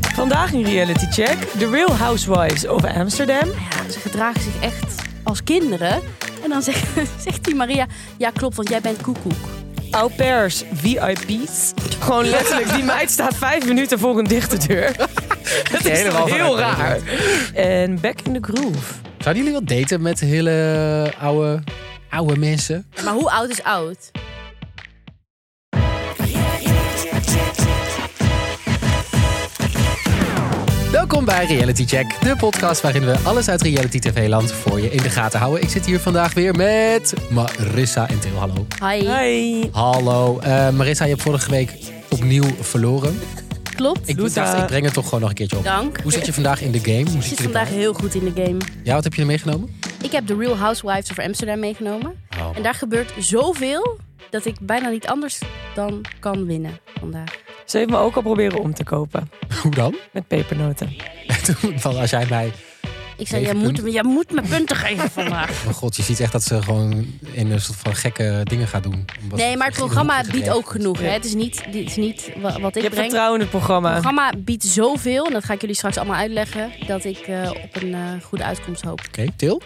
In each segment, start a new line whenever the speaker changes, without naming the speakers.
Vandaag in Reality Check, The Real Housewives of Amsterdam.
Ja, ze gedragen zich echt als kinderen. En dan zegt, zegt die Maria, ja klopt, want jij bent koekoek.
Au pairs, VIP's. Gewoon letterlijk, die meid staat vijf minuten voor een dichte deur. Dat is
helemaal
toch heel
vanuit
raar. En back in the groove.
Zouden jullie wel daten met hele oude, oude mensen?
Maar hoe oud is oud?
Welkom bij Reality Check, de podcast waarin we alles uit reality tv-land voor je in de gaten houden. Ik zit hier vandaag weer met Marissa en Theo. Hallo.
Hi.
Hi.
Hallo. Eh, Marissa, je hebt vorige week opnieuw verloren.
Klopt.
Ik
Loeta.
dacht, ik breng het toch gewoon nog een keertje op.
Dank.
Hoe zit je vandaag in de game? Hoe
Ik zit
je erbij?
vandaag heel goed in de game.
Ja, wat heb je er meegenomen?
Ik heb The Real Housewives of Amsterdam meegenomen.
Oh.
En daar gebeurt zoveel dat ik bijna niet anders dan kan winnen vandaag.
Ze heeft me ook al proberen om te kopen.
Hoe dan?
Met pepernoten.
Toen, van als jij mij...
Ik zei, jij
Negen
moet,
punten.
jij moet me punten geven vandaag.
Oh god, je ziet echt dat ze gewoon in een soort van gekke dingen gaat doen. Omdat
Nee,
ze
maar het
geen
programma
hoek
biedt
gekregen.
ook genoeg. Hè? Het is niet, dit is niet wa- wat
Je
ik
hebt
breng.
vertrouwen in het programma.
Het programma biedt zoveel, en dat ga ik jullie straks allemaal uitleggen, dat ik eh, op een eh, goede uitkomst hoop.
Oké, Til?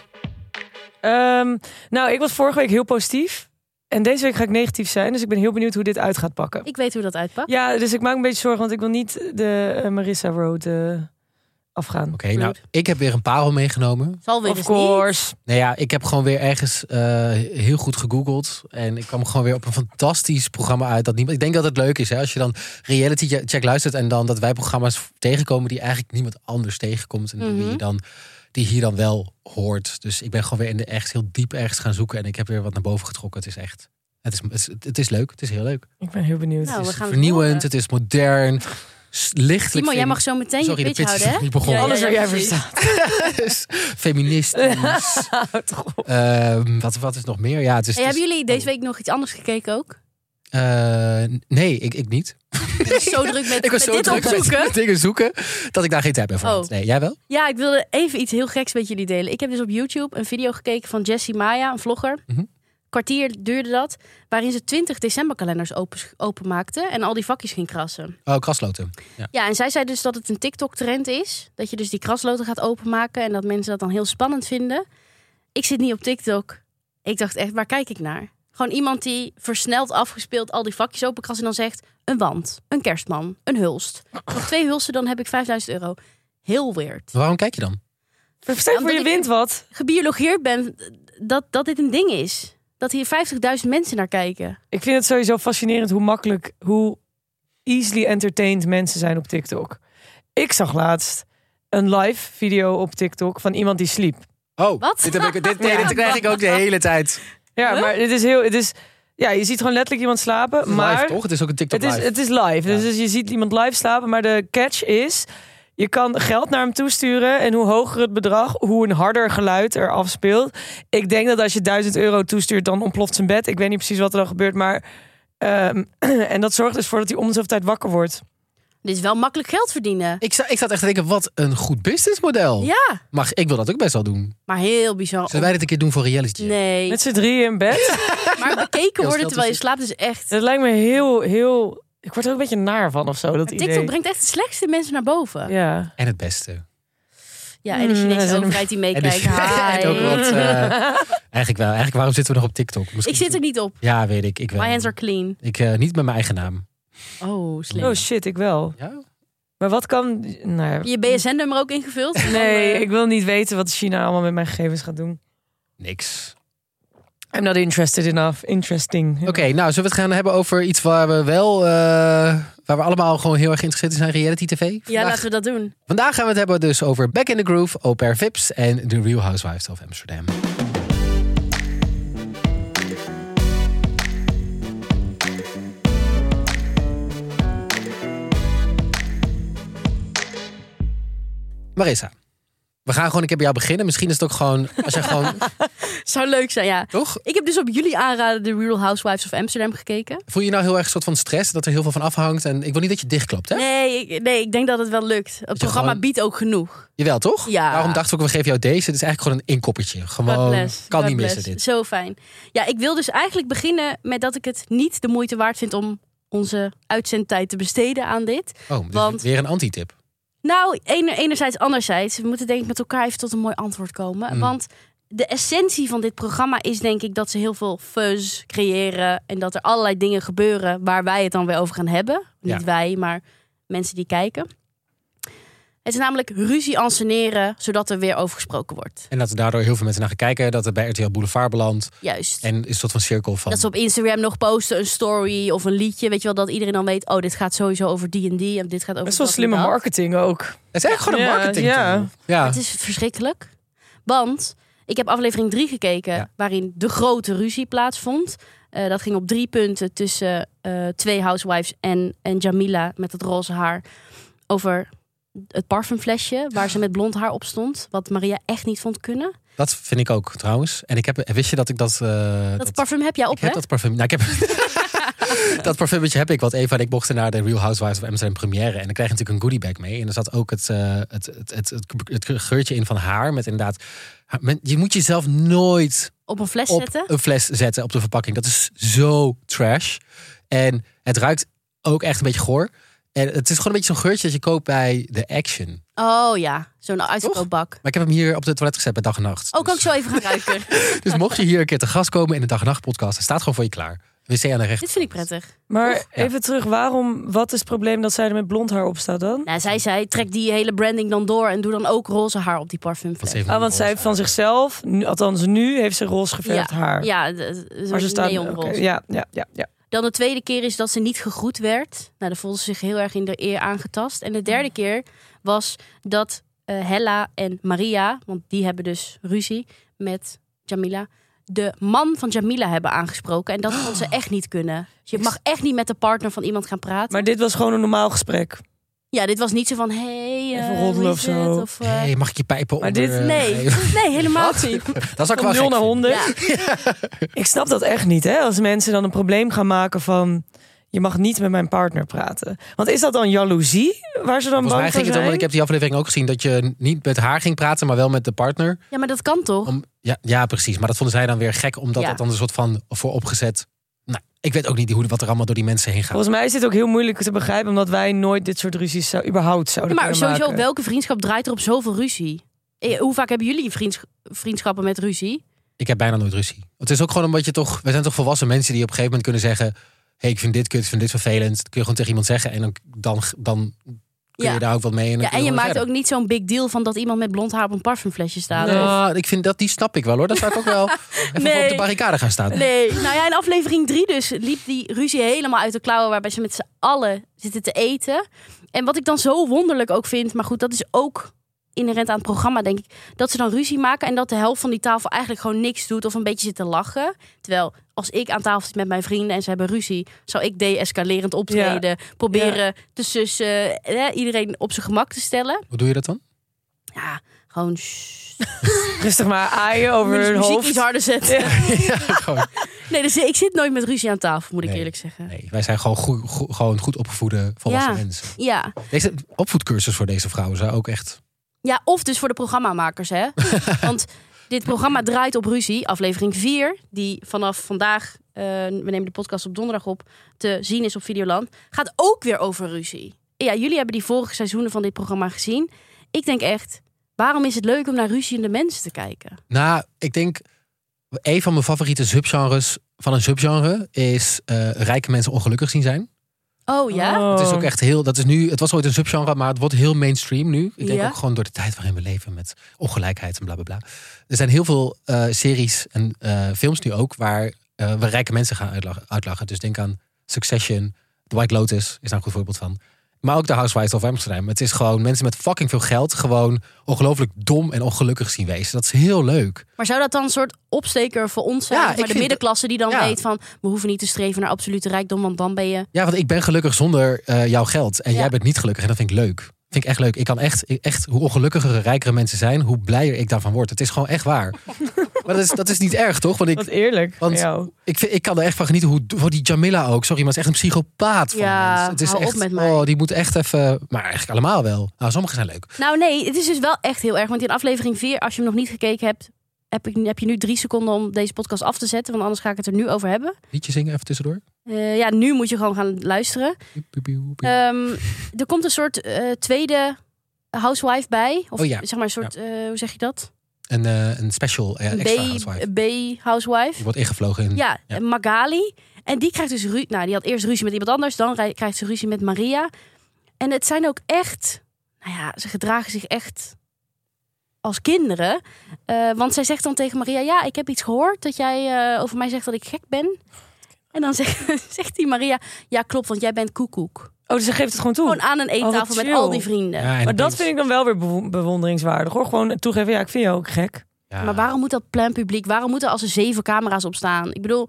Ehm, nou, ik was vorige week heel positief. En deze week ga ik negatief zijn. Dus ik ben heel benieuwd hoe dit uit gaat pakken.
Ik weet hoe dat uitpakt.
Ja, dus ik maak een beetje zorgen. Want ik wil niet de eh, Marissa Road eh, afgaan.
Oké, nou, ik heb weer een parel meegenomen.
Zal weer
of
dus
course.
Nou ja, ik heb gewoon weer ergens eh, heel goed gegoogeld. En ik kwam gewoon weer op een fantastisch programma uit. Dat niemand, ik denk dat het leuk is hè, als je dan reality check luistert. En dan dat wij programma's tegenkomen die eigenlijk niemand anders tegenkomt. En die,
Mhm.
je dan, die hier dan wel hoort. Dus ik ben gewoon weer in de echt heel diep ergens gaan zoeken. En ik heb weer wat naar boven getrokken. Het is echt... Het is, het is, het is leuk. Het is heel leuk.
Ik ben heel benieuwd.
Nou,
Het
we
is
gaan het
vernieuwend.
horen.
Het, is modern. s- Lichtelijk.
Timo, jij
femi-
mag zo meteen
Sorry, de
je pitch
pitch is
houden. hè?
nog niet begonnen.
Alles waar jij voor
precies.
staat.
Feministisch.
Houd toch op.
Ehm, wat, wat is nog meer? Ja, het is,
Hey,
het is-
hebben jullie deze week nog iets anders gekeken ook?
Eh, nee, ik, ik niet.
Ik was zo druk met,
Ik was
met
zo
dit
druk met
opzoeken.
dingen zoeken dat ik daar geen tijd meer voor had.
Oh.
Nee, jij wel?
Ja, ik wilde even iets heel geks met jullie delen. Ik heb dus op YouTube een video gekeken van Jessie Maya, een vlogger.
Mhm.
Kwartier duurde dat, waarin ze 20 decemberkalenders open, openmaakte en al die vakjes ging krassen.
Oh, krasloten. Ja.
Ja, en zij zei dus dat het een TikTok-trend is. Dat je dus die krasloten gaat openmaken en dat mensen dat dan heel spannend vinden. Ik zit niet op TikTok. Ik dacht echt, waar kijk ik naar? Gewoon iemand die versneld afgespeeld al die vakjes openkrast en dan zegt... een wand, een kerstman, een hulst. Nog twee hulsten, dan heb ik 5000 euro. Heel weird.
Maar waarom kijk je dan?
Stel je voor, je
Omdat ik-
wint wat.
Gebiologeerd ben dat, dat dit een ding is. Dat hier 50.000 mensen naar kijken.
Ik vind het sowieso fascinerend hoe makkelijk, hoe easily entertained mensen zijn op TikTok. Ik zag laatst een live video op TikTok van iemand die sliep.
Oh,
Wat?
Dit, heb ik, dit, nee, dit krijg ik ook de hele tijd.
Ja,
Huh?
maar het is heel, het is, ja, je ziet gewoon letterlijk iemand slapen, maar
live, toch? Het is ook een TikTok
het is,
live.
het is live. Dus,
Ja.
dus je ziet iemand live slapen, maar de catch is, je kan geld naar hem toesturen en hoe hoger het bedrag, hoe een harder geluid er afspeelt. Ik denk dat als je 1000 euro toestuurt, dan ontploft zijn bed. Ik weet niet precies wat er dan gebeurt, maar ehm, en dat zorgt dus voor dat hij om de zoveel tijd wakker wordt.
Dit is wel makkelijk geld verdienen.
ik, zat, ik zat echt te denken, wat een goed businessmodel.
Ja,
Maar ik wil dat ook best wel doen.
maar heel bizar.
Zullen wij dit een keer doen voor reality?
Nee.
Met z'n drieën in bed.
Maar bekeken worden
snel
terwijl je
tussen-
slaapt is echt...
Dat lijkt me heel, heel. Ik word er ook een beetje naar van of zo. Dat
TikTok
idee.
brengt echt de slechtste mensen naar boven. Ja,
Ja.
En het beste.
en de
Mm, dat is
Chinese
een-
overheid die
En dus-
meekijkt.
en ook
Hi.
wat, eh, eigenlijk wel. Eigenlijk, waarom zitten we nog op TikTok? Misschien
Ik zit er niet op.
Ja, weet ik. Ik wel.
My hands are clean.
Ik, eh, niet met mijn eigen naam.
Oh, slim.
Oh shit, ik wel.
Ja?
Maar wat kan. Nou, ja.
Je BSN-nummer ook ingevuld?
nee,
Dan, eh,
ik wil niet weten wat China allemaal met mijn gegevens gaat doen.
Niks.
I'm not interested enough. Interesting.
Oké, nou zullen we het gaan hebben over iets waar we wel, eh, waar we allemaal gewoon heel erg geïnteresseerd in zijn, reality tv. Vandaag,
Ja, laten we dat doen.
vandaag gaan we het hebben dus over Back in the Groove, Au Pair Vips en The Real Housewives of Amsterdam. Marissa, we gaan gewoon, ik heb jou beginnen. Misschien is het ook gewoon, als je gewoon,
Zou leuk zijn, ja.
toch?
Ik heb dus op jullie aanraden The Real Housewives of Amsterdam gekeken.
Voel je nou heel erg een soort van stress dat er heel veel van afhangt? En ik wil niet dat je dichtklapt, hè?
Nee ik, nee, ik denk dat het wel lukt. Het programma
gewoon-
biedt ook genoeg.
Jawel, toch?
Ja.
Daarom dachten we ook, we geven jou deze. Het is eigenlijk gewoon een inkoppertje.
God
Gewoon,
bless.
kan
God
niet
bless.
missen dit.
Zo fijn. Ja, ik wil dus eigenlijk beginnen met dat ik het niet de moeite waard vind om onze uitzendtijd te besteden aan dit.
Oh, dit is
Want-
weer een antitip.
Nou, ener- enerzijds, anderzijds. We moeten denk ik met elkaar even tot een mooi antwoord komen.
Mm.
Want de essentie van dit programma is denk ik dat ze heel veel fuzz creëren. En dat er allerlei dingen gebeuren waar wij het dan weer over gaan hebben.
Ja.
Niet wij, maar mensen die kijken. Het is namelijk ruzie anseneren, zodat er weer over gesproken wordt.
En dat er daardoor heel veel mensen naar gaan kijken. Dat het bij RTL Boulevard belandt.
Juist.
En is een soort van cirkel van...
Dat ze op Instagram nog posten een story of een liedje. Weet je wel, dat iedereen dan weet... oh, dit gaat sowieso over die en die en dit gaat over
Dat is wel
dat en
slimme
dat.
marketing ook.
Het is eigenlijk gewoon
Ja,
een marketing.
ja.
tool. ja.
Het is verschrikkelijk. Want ik heb aflevering 3 gekeken,
Ja.
waarin de grote ruzie plaatsvond. Eh, dat ging op drie punten tussen eh, twee housewives en, en Jamila met het roze haar. Over het parfumflesje waar ze met blond haar op stond. Wat Maria echt niet vond kunnen.
Dat vind ik ook trouwens. En ik heb, wist je dat ik dat. eh,
Dat
dat-
parfum heb jij op,
ik heb
hè?
dat parfum. Nou, ik heb. dat parfummetje heb ik, want Eva en ik mochten naar de Real Housewives of Amsterdam première. En dan kreeg je natuurlijk een goodiebag mee. En er zat ook het, eh, het, het, het, het, het geurtje in van haar. Met inderdaad. haar- men- Je moet jezelf nooit
Op een fles
op
zetten.
een fles zetten op de verpakking. Dat is zo trash. En het ruikt ook echt een beetje goor. En het is gewoon een beetje zo'n geurtje dat je koopt bij de Action. Maar
Oh ja, zo'n uitverkoopbak.
ik heb hem hier op de toilet gezet bij dag en nacht.
Oh, kan ik
Dus-
zo even gaan ruiken?
Dus mocht je hier een keer te gast komen in de dag en nacht podcast, het staat gewoon voor je klaar. Wc aan de rechter.
Dit vind ik prettig.
Maar
Ja.
even terug, waarom, wat is het probleem dat zij er met blond haar op staat dan?
Nou, zij zei, trek die hele branding dan door... en doe dan ook roze haar op die parfumfles.
Ah, want zij heeft van zichzelf, nu, althans nu, heeft ze roze geverfd haar.
Ja, de- de-
maar ze staat
neonroze.
oké, ja, ja, ja, ja.
Dan de tweede keer is dat ze niet gegroet werd. Nou, dan voelde ze zich heel erg in de eer aangetast. En de derde keer was dat eh, Hella en Maria, want die hebben dus ruzie met Jamila, de man van Jamila hebben aangesproken. En dat vond ze echt niet kunnen. Dus je mag echt niet met de partner van iemand gaan praten.
Maar dit was gewoon een normaal gesprek.
ja, dit was niet zo van, hey, eh,
Even roddelen
hoe
of
is het?
zo.
Of, eh,
Hey, mag ik je pijpen
Maar
onder,
dit-
eh,
nee, nee, helemaal
Wat?
niet.
Dat is ook
Van
wel
0
gek
naar
vinden.
100.
Ja.
Ik snap dat echt niet, hè? Als mensen dan een probleem gaan maken van... je mag niet met mijn partner praten. Want is dat dan jaloezie waar ze dan
Volgens mij
bang voor
ging het om, want
zijn?
ik heb die aflevering ook gezien, dat je niet met haar ging praten, maar wel met de partner.
Ja, maar dat kan toch?
Om, ja, ja, precies. Maar dat vonden zij dan weer gek, omdat
Ja.
dat dan een soort van vooropgezet... Nou, ik weet ook niet hoe, wat er allemaal door die mensen heen gaat.
Volgens mij is dit ook heel moeilijk te begrijpen... omdat wij nooit dit soort ruzies zou, überhaupt
Ja,
zouden
maar
kunnen
sowieso,
maken.
welke vriendschap draait er op zoveel ruzie? Eh, Hoe vaak hebben jullie vriendsch- vriendschappen met ruzie?
Ik heb bijna nooit ruzie. Het is ook gewoon omdat je toch... We zijn toch volwassen mensen die op een gegeven moment kunnen zeggen... hey, ik vind dit kut, ik vind dit vervelend. Dat kun je gewoon tegen iemand zeggen en dan, dan, dan kun je
Ja.
daar ook wat mee. En, dan
Ja,
kun
en je
gewoon
maakt
verder.
ook niet zo'n big deal van dat iemand met blond haar op een parfumflesje staat.
Nee.
Of-
Nou, ik vind dat die snap ik wel hoor. Dat zou ik ook wel even
Nee.
op de barricade gaan staan.
Nee, nou ja, in aflevering 3 dus liep die ruzie helemaal uit de klauwen... waarbij ze met z'n allen zitten te eten. En wat ik dan zo wonderlijk ook vind... maar goed, dat is ook inherent aan het programma, denk ik... dat ze dan ruzie maken en dat de helft van die tafel eigenlijk gewoon niks doet... of een beetje zit te lachen. Terwijl, als ik aan tafel zit met mijn vrienden en ze hebben ruzie... zou ik de-escalerend optreden, proberen te sussen... eh, iedereen op zijn gemak te stellen.
Hoe doe je dat dan?
Ja, gewoon... shh.
Rustig Dus maar aaien over
Moet
hun
je de muziek iets
hoofd.
harder zetten.
ja, gewoon,
Nee, dus ik zit nooit met ruzie aan tafel, moet ik
Nee.
eerlijk zeggen.
nee, wij zijn gewoon goed, goed- gewoon goed opgevoede volwassen
Ja.
mensen.
Ja.
Deze opvoedcursus voor deze vrouwen zou ook echt...
ja, of dus voor de programmamakers, hè. Want dit programma draait op ruzie. Aflevering 4, die vanaf vandaag, eh, we nemen de podcast op donderdag op, te zien is op Videoland, gaat ook weer over ruzie. Ja, jullie hebben die vorige seizoenen van dit programma gezien. Ik denk echt, waarom is het leuk om naar ruziende mensen te kijken?
Nou, ik denk... Een van mijn favoriete subgenres van een subgenre is eh, rijke mensen ongelukkig zien zijn.
Oh ja?
Oh.
Het is ook echt heel. Dat is nu, het was ooit een subgenre, maar het wordt heel mainstream nu. Ik denk
Ja.
ook gewoon door de tijd waarin we leven met ongelijkheid en bla bla bla. Er zijn heel veel eh, series en eh, films nu ook waar eh, we rijke mensen gaan uitlachen, uitlachen. Dus denk aan Succession, The White Lotus is daar een goed voorbeeld van. Maar ook de Housewives of Amsterdam. Het is gewoon mensen met fucking veel geld gewoon ongelooflijk dom en ongelukkig zien wezen. Dat is heel leuk.
Maar zou dat dan een soort opsteker voor ons zijn?
Ja,
Zeg
ik
maar de
vind-
middenklasse die dan
Ja.
weet van... we hoeven niet te streven naar absolute rijkdom... want dan ben je
Ja, want ik ben gelukkig zonder eh, jouw geld. En
Ja.
jij bent niet gelukkig. En dat vind ik leuk. Vind ik echt leuk. Ik kan echt, echt, hoe ongelukkiger rijkere mensen zijn, hoe blijer ik daarvan word. Het is gewoon echt waar. maar dat is, dat is niet erg, toch? Want ik,
Wat eerlijk van
Want-
jou.
ik, vind, ik kan er echt van genieten. Hoe, hoe die Jamila ook, sorry, maar het is echt een psychopaat van
Ja,
mens. Het is
hou op
echt,
met mij.
oh, die moet echt even, maar eigenlijk allemaal wel. Nou, sommigen zijn leuk.
Nou nee, het is dus wel echt heel erg. Want in aflevering 4, als je hem nog niet gekeken hebt... heb, ik, heb je nu drie seconden om deze podcast af te zetten. Want anders ga ik het er nu over hebben.
Liedje zingen even tussendoor.
Eh, ja, nu moet je gewoon gaan luisteren.
Piep, piep, piep, piep.
Ehm, er komt een soort eh, tweede housewife bij. Of
Oh ja,
zeg maar een soort, eh, hoe zeg je dat?
Een, eh, een special ja,
Een
extra housewife.
B- B-housewife.
Die wordt ingevlogen in...
Ja, eh,
Ja.
Magali. En die krijgt dus ruzie. Nou, die had eerst ruzie met iemand anders. Dan rij- krijgt ze ruzie met Maria. En het zijn ook echt. Nou ja, ze gedragen zich echt als kinderen. Eh, want zij zegt dan tegen Maria: Ja, ik heb iets gehoord dat jij eh, over mij zegt dat ik gek ben. En dan zegt, zegt die Maria: Ja, klopt, want jij bent koekoek.
Oh, dus ze geeft het gewoon toe.
Gewoon aan een
Oh,
eettafel
wat
met
chill.
al die vrienden.
Ja, en
maar dat
die-
vind ik dan wel weer bewo- bewonderingswaardig hoor. Gewoon toegeven, ja, ik vind je ook gek.
ja.
Maar waarom moet dat plein publiek? Waarom moeten als er zeven camera's op staan? Ik bedoel,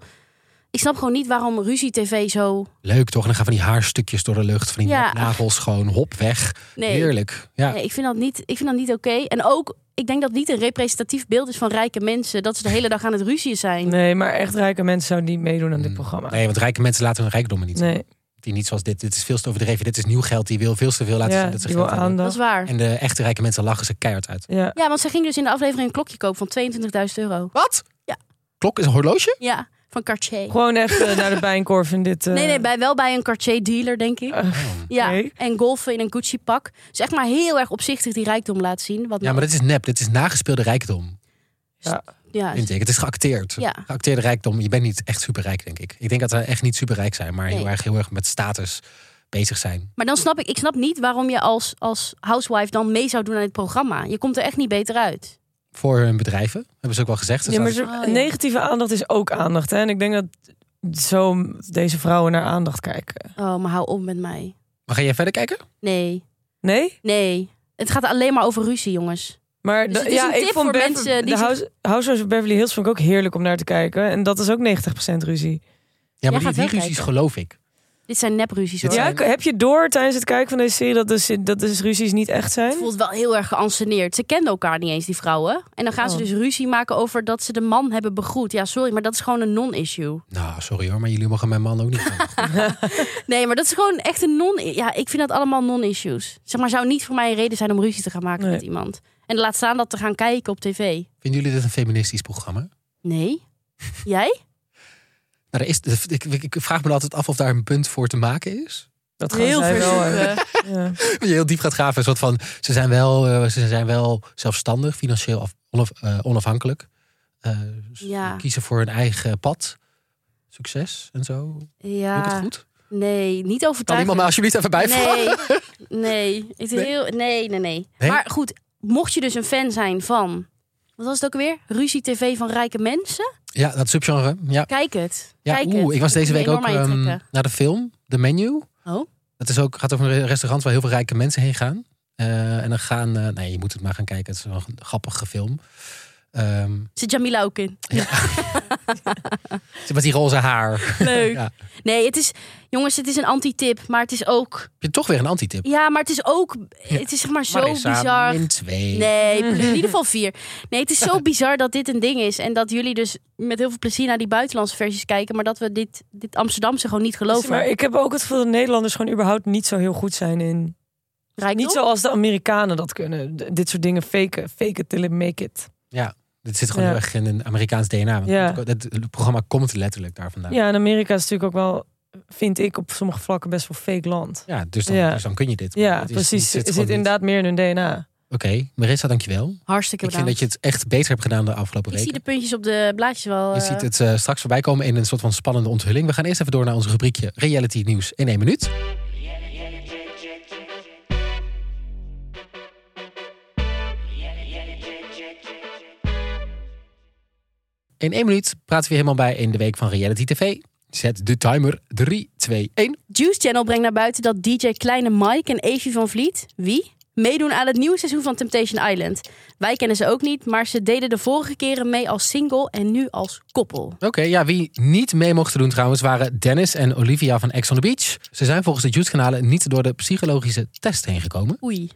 ik snap gewoon niet waarom ruzie-tv zo.
Leuk toch? En dan gaan van die haarstukjes door de lucht. Van die
Ja.
nagels gewoon hop weg.
Nee.
Heerlijk. Ja.
Nee, Eh, ik vind dat niet, ik vind dat niet oké. En ook, ik denk dat het niet een representatief beeld is van rijke mensen. Dat ze de hele dag aan het ruzie zijn.
Nee, maar echt rijke mensen zouden niet meedoen aan dit
Mm.
programma.
Nee, want rijke mensen laten hun rijkdommen niet. zien.
Nee,
Die niet zoals dit. Dit is veel te overdreven. Dit is nieuw geld. Die wil veel te veel laten
ja,
zien dat ze
die
geld
wil
hebben.
Dat is
aandacht.
waar.
En de echte rijke mensen lachen ze keihard uit.
Ja.
Ja, want zij ging dus in de aflevering een klokje kopen van 22.000 euro.
Wat?
Ja.
Klok is een horloge?
Ja, van Cartier.
Gewoon echt eh, naar de bijenkorf in dit... eh,
Nee, nee, bij, wel bij een Cartier-dealer, denk ik.
eh,
Oh.
Ja,
oké.
en golfen in een Gucci-pak. Dus echt maar heel erg opzichtig die rijkdom laat zien. Wat
Ja, maar dit is nep. Dit is nagespeelde rijkdom.
ja,
Vind ik. Het is geacteerd.
Ja.
Geacteerde rijkdom. Je bent niet echt superrijk, denk ik. Ik denk dat ze echt niet superrijk zijn, maar heel
Nee.
erg, heel erg met status bezig zijn.
Maar dan snap ik, ik snap niet waarom je als, als housewife dan mee zou doen aan dit programma. Je komt er echt niet beter uit.
Voor hun bedrijven. Hebben ze ook wel gezegd. Dus Ze
Ja, maar
zaten-
zo-
Oh, ja.
negatieve aandacht is ook aandacht. Hè? En ik denk dat zo deze vrouwen naar aandacht kijken.
Oh, maar hou op met mij.
Maar ga jij verder kijken?
Nee,
Nee?
nee. Het gaat alleen maar over ruzie, jongens.
Maar
Dus
da-
het is
ja,
een
ik
tip
vond
voor
Bever-
mensen die
de
zich-
House, Housewives of Beverly Hills vond ik ook heerlijk om naar te kijken. En dat is ook 90% ruzie.
Ja, maar die,
gaat
die
wel
ruzies
kijken.
geloof ik.
Dit zijn nepruzies
Dit
hoor.
Ja,
zijn-
k- heb je door tijdens het kijken van deze serie dat dus, dat dus ruzies niet echt zijn?
Het voelt wel heel erg geanceneerd. Ze kenden elkaar niet eens, die vrouwen. En dan gaan ze
Oh.
dus ruzie maken over dat ze de man hebben begroet. Ja, sorry, maar dat is gewoon een non-issue.
Nou, sorry hoor, maar jullie mogen mijn man ook niet gaan.
Nee, maar dat is gewoon echt een non... Ja, ik vind dat allemaal non-issues. Zeg maar, zou niet voor mij een reden zijn om ruzie te gaan maken
Nee.
met iemand. En laat staan dat te gaan kijken op tv.
Vinden jullie dit een feministisch programma?
Nee. Jij?
Nou, er is, ik, ik vraag me altijd af of daar een punt voor te maken is.
dat gaan zij wel. hebben. Ja.
Als je heel diep gaat graven, een soort van, ze zijn wel, eh, ze zijn wel zelfstandig, financieel af- onaf- eh, onafhankelijk. Eh, ze
Ja.
Kiezen voor hun eigen pad. Succes en zo. Doe ik het
Ja.
goed?
Nee, niet
Kan
overtuigend.
iemand me alsjeblieft even bijvragen?
Nee, nee. Ik doe heel, nee, nee, nee,
Nee?
Maar goed, mocht je dus een fan zijn van... Wat was het ook weer? Ruzie TV van rijke mensen?
Ja, dat subgenre. Ja.
Kijk het.
Ja,
Kijk het.
oeh, ik was
Dat
deze
moet
week
je
ook
enorm aan je
ehm,
trekken.
naar de film, The Menu.
Oh.
Dat is ook, gaat over een restaurant waar heel veel rijke mensen heen gaan. Eh, en dan gaan, eh, nee, je moet het maar gaan kijken. Het is wel een grappige film. Ehm,
Zit Jamila ook in?
met die roze haar.
Leuk.
Ja.
Nee, het is... Jongens, het is een anti-tip. Maar het is ook...
Heb je toch weer een antitip?
Ja, maar het is ook...
Ja.
Het is zeg maar zo
Marissa,
bizar.
min twee.
Nee, in ieder geval vier. Nee, het is zo bizar dat dit een ding is. En dat jullie dus met heel veel plezier naar die buitenlandse versies kijken. Maar dat we dit, dit Amsterdamse gewoon niet geloven.
Maar ik heb ook het gevoel dat Nederlanders gewoon überhaupt niet zo heel goed zijn in.
Rijkdom?
Niet zoals de Amerikanen dat kunnen. D- dit soort dingen faken. Fake it till it make it.
Dit zit gewoon
Ja.
heel erg in een Amerikaans DNA. want
Ja.
Het, het- het programma komt letterlijk daar vandaan. Ja,
Ja, en Amerika is natuurlijk ook wel, vind ik op sommige vlakken best wel fake land.
dus, dan,
Ja.
dus dan kun je dit.
Ja,
Het is-
precies.
het
Het zit,
gewoon niet-
inderdaad meer in hun DNA.
Oké, Marissa, dankjewel.
Hartstikke
Ik
bedankt.
vind dat je het echt beter hebt gedaan de afgelopen
Ik
weken.
zie de puntjes op de blaadjes wel.
Je
eh,
ziet het eh, straks voorbij komen in een soort van spannende onthulling. We gaan eerst even door naar ons rubriekje Reality Nieuws in één minuut. In één minuut praten we helemaal bij in de week van Reality TV. Zet de timer 3, 2, 1.
Juice Channel brengt naar buiten dat DJ Kleine Mike en Evie van Vliet, wie? Meedoen aan het nieuwe seizoen van Temptation Island. Wij kennen ze ook niet, maar ze deden de vorige keren mee als single en nu als koppel.
Oké, ja, wie niet mee mochten doen trouwens waren Dennis en Olivia van Ex on the Beach. Ze zijn volgens de Juice-kanalen niet door de psychologische test heen gekomen.
Oei.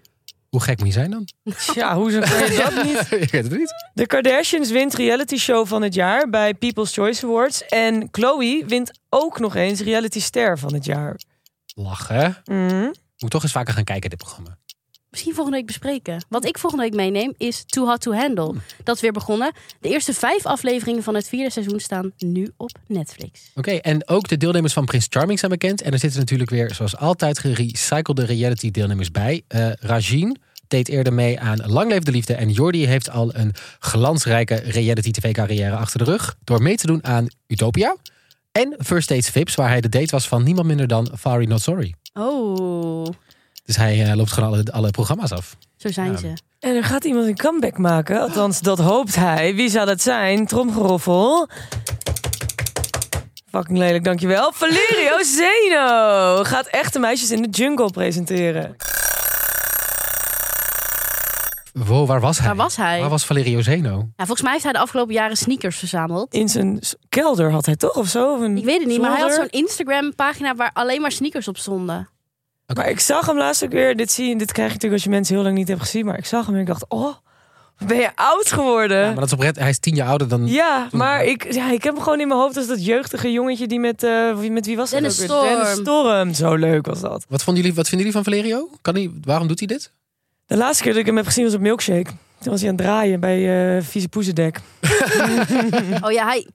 Hoe gek moet je zijn dan?
Ja, hoezo kan je dat niet?
Ik weet het niet.
De Kardashians wint reality show van het jaar bij People's Choice Awards. En Chloe wint ook nog eens reality ster van het jaar.
Lachen.
Mm.
Mhm.
Moet toch eens vaker gaan kijken, dit programma.
Misschien volgende week bespreken. Wat ik volgende week meeneem is Too Hot to Handle. Dat is weer begonnen. De eerste vijf afleveringen van het vierde seizoen staan nu op Netflix.
Oké, en ook de deelnemers van Prins Charming zijn bekend. En er zitten natuurlijk weer, zoals altijd, gerecyclede reality deelnemers bij. Eh Rajin, deed eerder mee aan Lang Leef de Liefde. En Jordi heeft al een glansrijke reality tv-carrière achter de rug. Door mee te doen aan Utopia. En First Dates Vips, waar hij de date was van niemand minder dan Fari Not Sorry.
Oh,
Dus hij eh, loopt gewoon alle, alle programma's af.
zo zijn
Ja.
ze.
En er gaat iemand een comeback maken. Althans, dat hoopt hij. Wie zou dat zijn? Tromgeroffel. Fucking lelijk, dankjewel. Valerio Zeno gaat echte meisjes in de jungle presenteren.
Wow, waar was hij?
Waar was hij?
Waar was Valerio Zeno?
Ja, volgens mij heeft hij de afgelopen jaren sneakers verzameld.
In zijn s- kelder had hij toch of zo? Of een
Ik weet het niet, maar hij had
zolder?
zo'n Instagram-pagina waar alleen maar sneakers op stonden.
Maar ik zag hem laatst ook weer. Dit, zie je, dit krijg je natuurlijk als je mensen heel lang niet hebt gezien. Maar ik zag hem en ik dacht, oh, wat ben je oud geworden?
Ja, maar dat is oprecht, hij is tien jaar ouder dan...
Eh. Ja, maar ik, ja, ik heb hem gewoon in mijn hoofd als dat jeugdige jongetje die met, eh, wie- met wie was dat
Dennis
ook weer? Dennis
Storm.
Storm. Zo leuk was dat.
Wat, vonden jullie, wat vinden jullie van Valerio? Kan hij, waarom doet hij dit?
De laatste keer dat ik hem heb gezien was op Milkshake. Toen was hij aan het draaien bij eh Vieze Poezendek.
Oh ja, hij...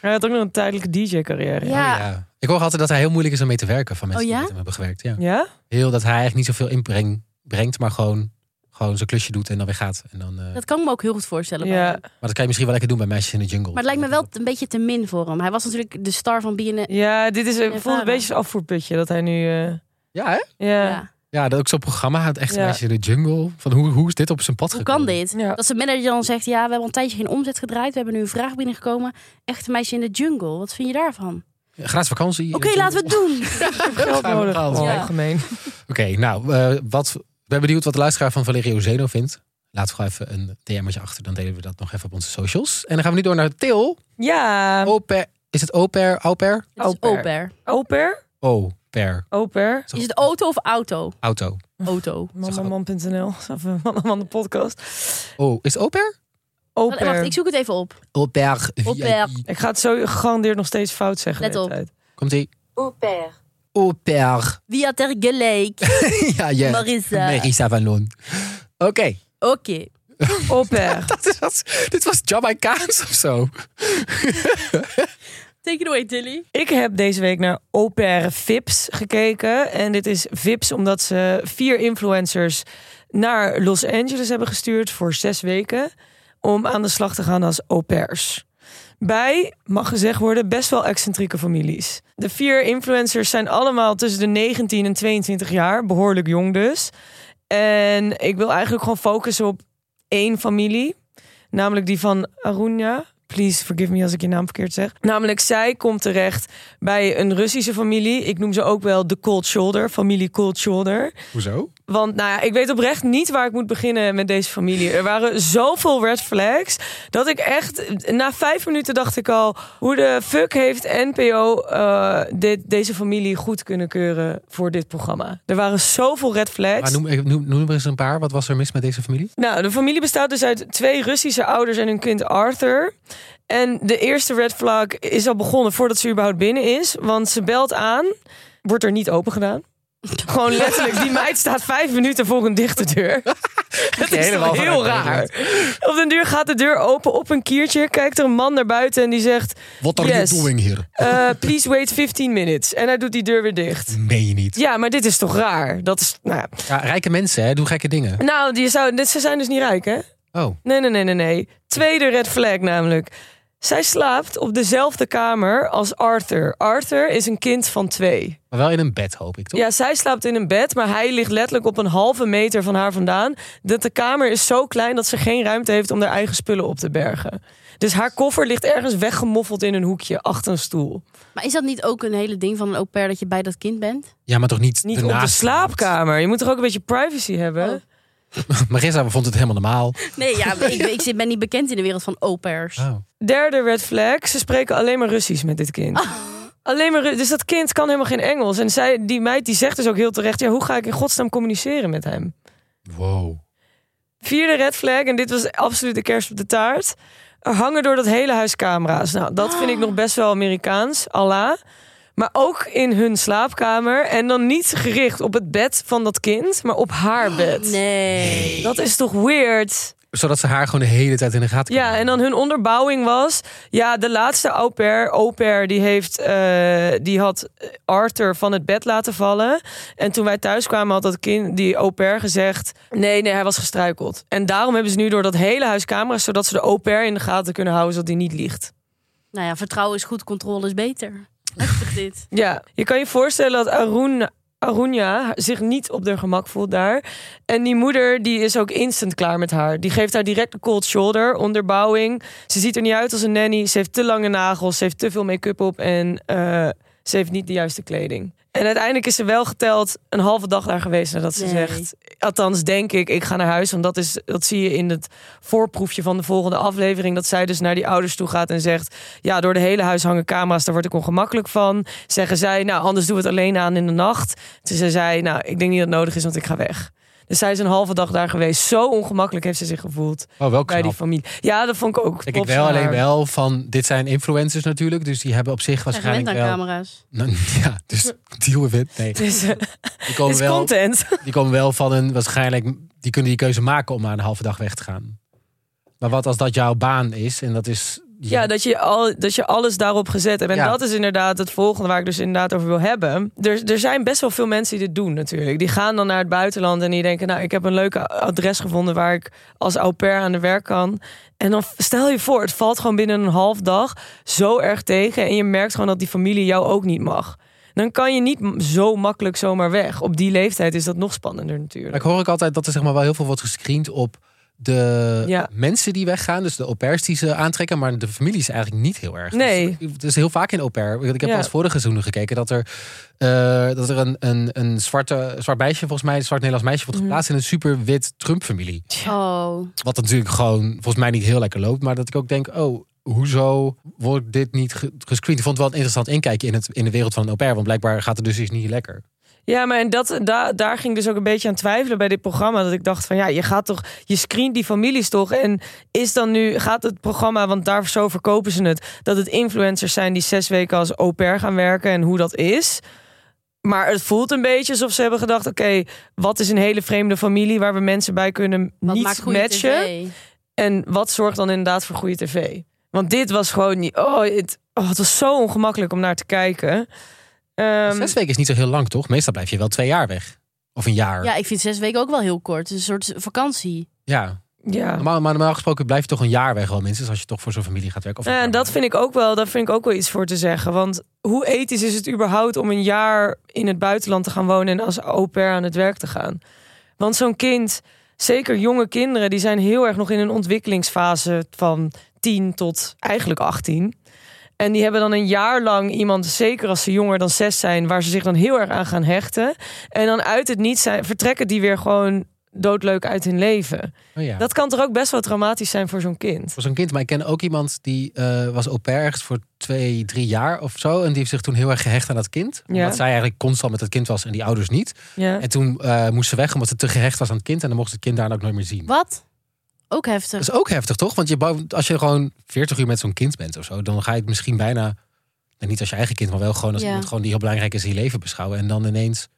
Hij had ook nog een tijdelijke DJ-carrière. Ja.
Ja.
Oh, Ja. Ik hoor altijd dat hij heel moeilijk is om mee te werken van mensen
Oh ja?
die met hem hebben gewerkt. Ja. Heel dat hij eigenlijk niet zoveel inbreng brengt, maar gewoon, gewoon zijn klusje doet en dan weer gaat. En dan, eh,
Dat kan ik me ook heel goed voorstellen. bij
Ja.
hem.
Maar dat kan je misschien wel lekker doen bij Meisjes in de Jungle.
Maar het lijkt me wel een beetje te min voor hem. Hij was natuurlijk de star van BNN.
Ja, dit is, ik voelde
Ervaren.
een beetje zijn afvoerputje dat hij nu... eh,
Ja, hè?
ja. ja.
Ja.
Ja, dat ook zo'n programma, het echt
Ja.
Meisjes in de Jungle. Van hoe, hoe is dit op zijn pad
Hoe
gekomen?
kan dit? Dat zijn manager dan zegt, ja, we hebben al een tijdje geen omzet gedraaid. We hebben nu een vraag binnengekomen. Echte meisje in de jungle. Wat vind je daarvan?
Ja, Gratis vakantie.
Oké,
eh,
laten we het doen.
Ik heb geld
Gaan we
nodig.
gaan.
Oh,
Ja.
gemeen.
Oké, nou, eh, wat, ik ben benieuwd wat de luisteraar van Valerio Zeno vindt. Laat gewoon even een DM'tje achter, dan delen we dat nog even op onze socials. En dan gaan we nu door naar Til.
Ja,
Au pair- Is het au pair? Au pair?
Het is
Au pair.
au pair.
au pair.
Au pair.
Au pair.
Is het auto of auto?
Auto.
Auto.
Mamaman.nl. Of eh, Mamaman de podcast.
Oh, is het au pair?
Au
Wacht,
pair.
ik zoek het even op.
Au pair.
Au pair.
VIP.
Ik ga het zo gegarandeerd nog steeds fout zeggen.
Let
de hele
op.
tijd.
Komt-ie.
Au pair.
Au pair.
Wie had er gelijk?
ja, ja.
Marissa.
Marissa van Loon. Oké.
Oké.
Au pair.
Dat is- dat is- dit was Jamaicaans of zo.
Take it away, Tilly.
Ik heb deze week naar Au Pair Vips gekeken. En dit is Vips omdat ze vier influencers naar Los Angeles hebben gestuurd voor zes weken. Om aan de slag te gaan als au pairs. Bij, mag gezegd worden, best wel excentrieke families. De vier influencers zijn allemaal tussen de 19 en 22 jaar. Behoorlijk jong dus. En ik wil eigenlijk gewoon focussen op één familie. Namelijk die van Aruna. Please forgive me als ik je naam verkeerd zeg. Namelijk, zij komt terecht bij een Russische familie. Ik noem ze ook wel de Cold Shoulder, familie Cold Shoulder.
Hoezo?
Want nou ja, ik weet oprecht niet waar ik moet beginnen met deze familie. Er waren zoveel red flags dat ik echt na vijf minuten dacht ik al: hoe de fuck heeft NPO eh, dit, deze familie goed kunnen keuren voor dit programma? Er waren zoveel red
Maar
flags.
noem, eh, noem, noem er eens een paar. Wat was er mis met deze familie?
Nou, de familie bestaat dus uit twee Russische ouders en hun kind Arthur. En de eerste red flag is al begonnen voordat ze überhaupt binnen is. Want ze belt aan, wordt er niet open gedaan. Gewoon letterlijk, die meid staat vijf minuten voor een dichte deur. Dat is
helemaal
toch heel
vanuit
raar. Op den duur gaat de deur open op een kiertje. Kijkt er een man naar buiten en die zegt...
What
are you Yes. doing
here?
eh, please wait 15 minutes. En hij doet die deur weer dicht.
Meen je niet.
Ja, maar dit is toch raar? Dat is, nou, ja.
Ja, rijke mensen, hè, doen gekke dingen.
nou die zou, dit- ze zijn dus niet rijk, hè?
Oh,
Nee, nee, nee, nee, nee. Tweede red flag namelijk. Zij slaapt op dezelfde kamer als Arthur. Arthur is een kind van twee.
maar wel in een bed, hoop ik, toch?
Ja, zij slaapt in een bed, maar hij ligt letterlijk op een halve meter van haar vandaan. Dat de kamer is zo klein dat ze geen ruimte heeft om haar eigen spullen op te bergen. Dus haar koffer ligt ergens weggemoffeld in een hoekje achter een stoel.
Maar is dat niet ook een hele ding van een au pair dat je bij dat kind bent?
Ja, maar toch niet,
Niet op de
ernaast.
slaapkamer. Je moet toch ook een beetje privacy hebben?
Oh.
Marissa vond het helemaal normaal.
Nee, ja, maar ik, ik zit- ben niet bekend in de wereld van au pairs.
Ah.
Oh.
Derde red flag, ze spreken alleen maar Russisch met dit kind. Alleen maar, Ru- dus dat kind kan helemaal geen Engels. En zij, die meid die zegt dus ook heel terecht... Ja, hoe ga ik in godsnaam communiceren met hem?
Wow.
Vierde red flag, en dit was absoluut de kerst op de taart. Er hangen door dat hele huis camera's. Nou, dat vind ik nog best wel Amerikaans, Allah. Maar ook in hun slaapkamer. En dan niet gericht op het bed van dat kind, maar op haar bed.
Nee.
Dat is toch weird?
Zodat ze haar gewoon de hele tijd in de gaten
Ja, en dan hun onderbouwing was... Ja, de laatste au pair, au pair, die, heeft, eh, die had Arthur van het bed laten vallen. En toen wij thuis kwamen had dat kind, die au pair, gezegd... Nee, nee, hij was gestruikeld. En daarom hebben ze nu door dat hele huis camera's... zodat ze de au pair in de gaten kunnen houden... zodat die niet liegt.
Nou ja, vertrouwen is goed, controle is beter. Heftig dit.
Ja, je kan je voorstellen dat Arun, Arunja zich niet op haar gemak voelt daar. En die moeder die is ook instant klaar met haar. Die geeft haar direct een cold shoulder, onderbouwing. Ze ziet er niet uit als een nanny. Ze heeft te lange nagels, ze heeft te veel make-up op en eh, ze heeft niet de juiste kleding. En uiteindelijk is ze wel geteld een halve dag daar geweest nadat ze
Nee.
zegt... Althans, denk ik, ik ga naar huis. Want dat, is, dat zie je in het voorproefje van de volgende aflevering. Dat zij dus naar die ouders toe gaat en zegt... Ja, door de hele huis hangen camera's, daar word ik ongemakkelijk van. Zeggen zij, nou, anders doen we het alleen aan in de nacht. Toen zei zij, nou, ik denk niet dat het nodig is, want ik ga weg. Dus zij is een halve dag daar geweest. Zo ongemakkelijk heeft ze zich gevoeld
Oh, wel
bij die
knap.
familie. Ja, dat vond ik ook.
Kijk, ik
Props
wel
aan
alleen
haar.
wel van, dit zijn influencers natuurlijk, dus die hebben op zich
Zijn gewend
waarschijnlijk
aan
wel...
camera's.
Nou, ja, dus deal with it. Nee,
Het is, eh,
die
het
komen,
is
wel,
content.
die komen wel van een waarschijnlijk, die kunnen die keuze maken om maar een halve dag weg te gaan. Maar wat als dat jouw baan is en dat is...
Ja, dat je, al, dat je alles daarop gezet hebt. En
Ja.
dat is inderdaad het volgende waar ik dus inderdaad over wil hebben. Er, er zijn best wel veel mensen die dit doen natuurlijk. Die gaan dan naar het buitenland en die denken... nou, ik heb een leuke adres gevonden waar ik als au pair aan de werk kan. En dan stel je voor, het valt gewoon binnen een half dag zo erg tegen... en je merkt gewoon dat die familie jou ook niet mag. Dan kan je niet m- zo makkelijk zomaar weg. Op die leeftijd is dat nog spannender natuurlijk.
Maar ik hoor ook altijd dat er zeg maar, wel heel veel wordt gescreend op de
Ja.
mensen die weggaan. Dus de au pairs die ze aantrekken. Maar de familie is eigenlijk niet heel erg.
Nee.
Dus het is heel vaak in au pair. Ik heb
Ja.
pas vorige seizoenen gekeken dat er, eh, dat er een, een, een zwarte, zwart meisje, volgens mij, een zwart Nederlands meisje, wordt
Mhm.
geplaatst in een super wit Trump-familie.
Oh,
Wat natuurlijk gewoon volgens mij niet heel lekker loopt. Maar dat ik ook denk, oh, hoezo wordt dit niet ge- gescreend? Ik vond het wel een interessant inkijkje in, het, in de wereld van een au pair. Want blijkbaar gaat het dus iets niet lekker.
Ja, maar en dat, da- daar ging ik dus ook een beetje aan twijfelen bij dit programma. Dat ik dacht van ja, je gaat toch, je screent die families toch. En is dan nu, gaat het programma, want daar zo verkopen ze het, dat het influencers zijn die zes weken als au pair gaan werken en hoe dat is. Maar het voelt een beetje alsof ze hebben gedacht: oké, wat is een hele vreemde familie waar we mensen bij kunnen
wat maakt
niet
goede
matchen?
tv?
En wat zorgt dan inderdaad voor goede tv? Want dit was gewoon niet. Oh, het, oh, het was zo ongemakkelijk om naar te kijken. Ehm,
Zes weken is niet zo heel lang, toch? Meestal blijf je wel twee jaar weg. Of een jaar.
Ja, ik vind zes weken ook wel heel kort. Het is Een soort vakantie.
Ja,
ja.
normaal, maar normaal gesproken blijf je toch een jaar weg wel minstens als je toch voor zo'n familie gaat werken. Of
Ja, en Eh, dat vind ik ook wel, daar vind ik ook wel iets voor te zeggen. Want hoe ethisch is het überhaupt om een jaar in het buitenland te gaan wonen en als au pair aan het werk te gaan? Want zo'n kind, zeker jonge kinderen, die zijn heel erg nog in een ontwikkelingsfase van 10 tot eigenlijk 18. En die hebben dan een jaar lang iemand, zeker als ze jonger dan 6 zijn, waar ze zich dan heel erg aan gaan hechten. En dan uit het niet zijn, vertrekken die weer gewoon doodleuk uit hun leven.
Oh ja.
Dat kan toch ook best wel traumatisch zijn voor zo'n kind.
Voor zo'n kind. Maar ik ken ook iemand die eh, was au pair ergens voor twee, drie jaar of zo. En die heeft zich toen heel erg gehecht aan dat kind.
Ja.
Omdat zij eigenlijk constant met dat kind was en die ouders niet.
Ja.
En toen eh, moest ze weg omdat ze te gehecht was aan het kind. En dan mocht ze het kind daarna ook nooit meer zien.
Wat? Ook heftig.
Dat is ook heftig, toch? Want je, bouwt- als je gewoon 40 uur met zo'n kind bent of zo, dan ga je het misschien bijna. En niet als je eigen kind, maar wel gewoon als
Ja.
iemand gewoon die heel belangrijk is in je leven beschouwen. En dan ineens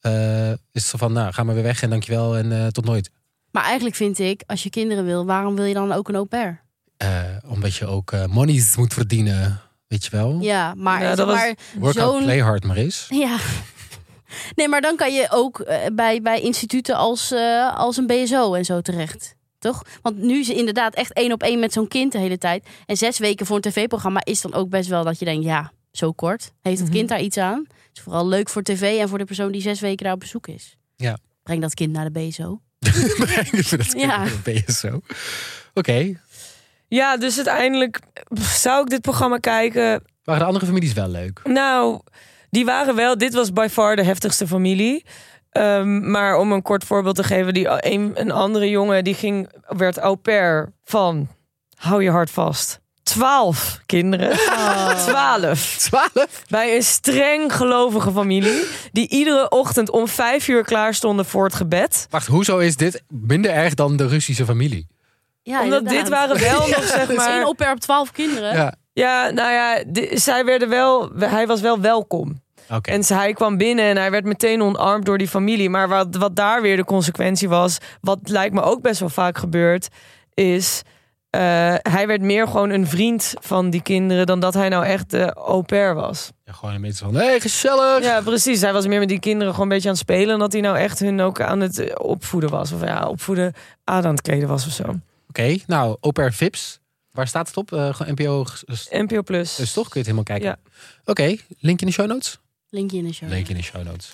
eh, is het zo van, nou, ga maar weer weg en dankjewel en eh, tot nooit.
Maar eigenlijk vind ik, als je kinderen wil, waarom wil je dan ook een au pair?
Eh, omdat je ook eh monies moet verdienen, weet je wel.
Ja, maar,
Ja, dat was-
maar
Work hard,
zo'n-
play hard maar eens.
Ja. Nee, maar dan kan je ook eh, bij, bij instituten als, eh, als een BSO en zo terecht. Toch? Want nu is het inderdaad echt één op één met zo'n kind de hele tijd. En zes weken voor een tv-programma is dan ook best wel dat je denkt... ja, zo kort. Heeft het
Mhm.
kind daar iets aan? Het is vooral leuk voor tv en voor de persoon die zes weken daar op bezoek is.
Ja.
Breng dat kind naar de BSO.
dat
Ja.
ben je zo. Oké,
Ja, dus uiteindelijk pff, zou ik dit programma kijken.
waren de andere families wel leuk?
Nou, die waren wel. Dit was by far de heftigste familie. Ehm, maar om een kort voorbeeld te geven, die, een, een andere jongen die ging, werd au pair van, hou je hart vast, twaalf kinderen.
Oh.
Twaalf.
Twaalf?
Bij een streng gelovige familie, die iedere ochtend om vijf uur klaar stonden voor het gebed.
Wacht, hoezo is dit minder erg dan de Russische familie?
Ja,
Omdat
inderdaad.
dit waren wel nog, zeg
Dus
maar...
één au Eh? pair op twaalf kinderen.
Ja.
Ja, nou ja, di- zij werden wel, hij was wel welkom.
Oké. Oké.
En ze- hij kwam binnen en hij werd meteen onarmd door die familie. Maar wat, wat daar weer de consequentie was, wat lijkt me ook best wel vaak gebeurd, is eh, hij werd meer gewoon een vriend van die kinderen dan dat hij nou echt de au pair was.
Ja, gewoon een beetje van, hey, gezellig.
Ja, precies. Hij was meer met die kinderen gewoon een beetje aan het spelen en dat hij nou echt hun ook aan het eh, opvoeden was. Of ja, opvoeden aan aan het kleden was of zo.
Oké, nou, au pair Vips. Waar staat het op? Eh, gewoon NPO. ges- ges-
NPO Plus.
Dus toch kun je het helemaal kijken.
Ja.
Oké, link in de show notes.
Linkje in de show.
Link in de show notes.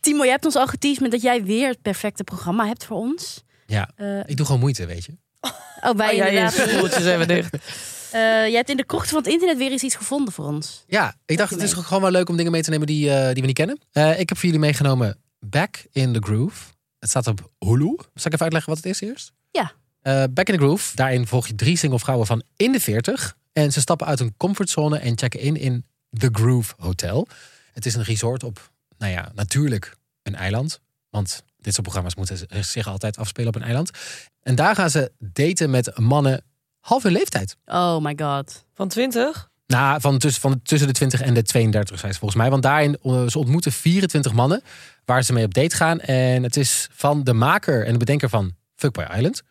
Timo, je hebt ons al geteased met dat jij weer het perfecte programma hebt voor ons.
Ja,
Eh,
ik doe gewoon moeite, weet je.
oh, wij
Oh, jij
inderdaad.
is voeltjes even dicht.
Eh, jij hebt in de krochten van het internet weer eens iets gevonden voor ons.
Ja, ik dacht het is gewoon wel leuk om dingen mee te nemen die, eh, die we niet kennen. Eh, ik heb voor jullie meegenomen Back in the Groove. Het staat op Hulu. Zal ik even uitleggen wat het is eerst?
Ja.
Eh, Back in the Groove. Daarin volg je drie single vrouwen van in de 40. En ze stappen uit hun comfortzone en checken in in The Groove Hotel. Het is een resort op, nou ja, natuurlijk een eiland. Want dit soort programma's moeten z- zich altijd afspelen op een eiland. En daar gaan ze daten met mannen half hun leeftijd.
Oh my god.
Van 20?
Nou, van, tussen van tussen de 20 en de 32 zijn ze volgens mij. Want daarin eh, ze ontmoeten 24 mannen waar ze mee op date gaan. En het is van de maker en de bedenker van Fuckboy Island.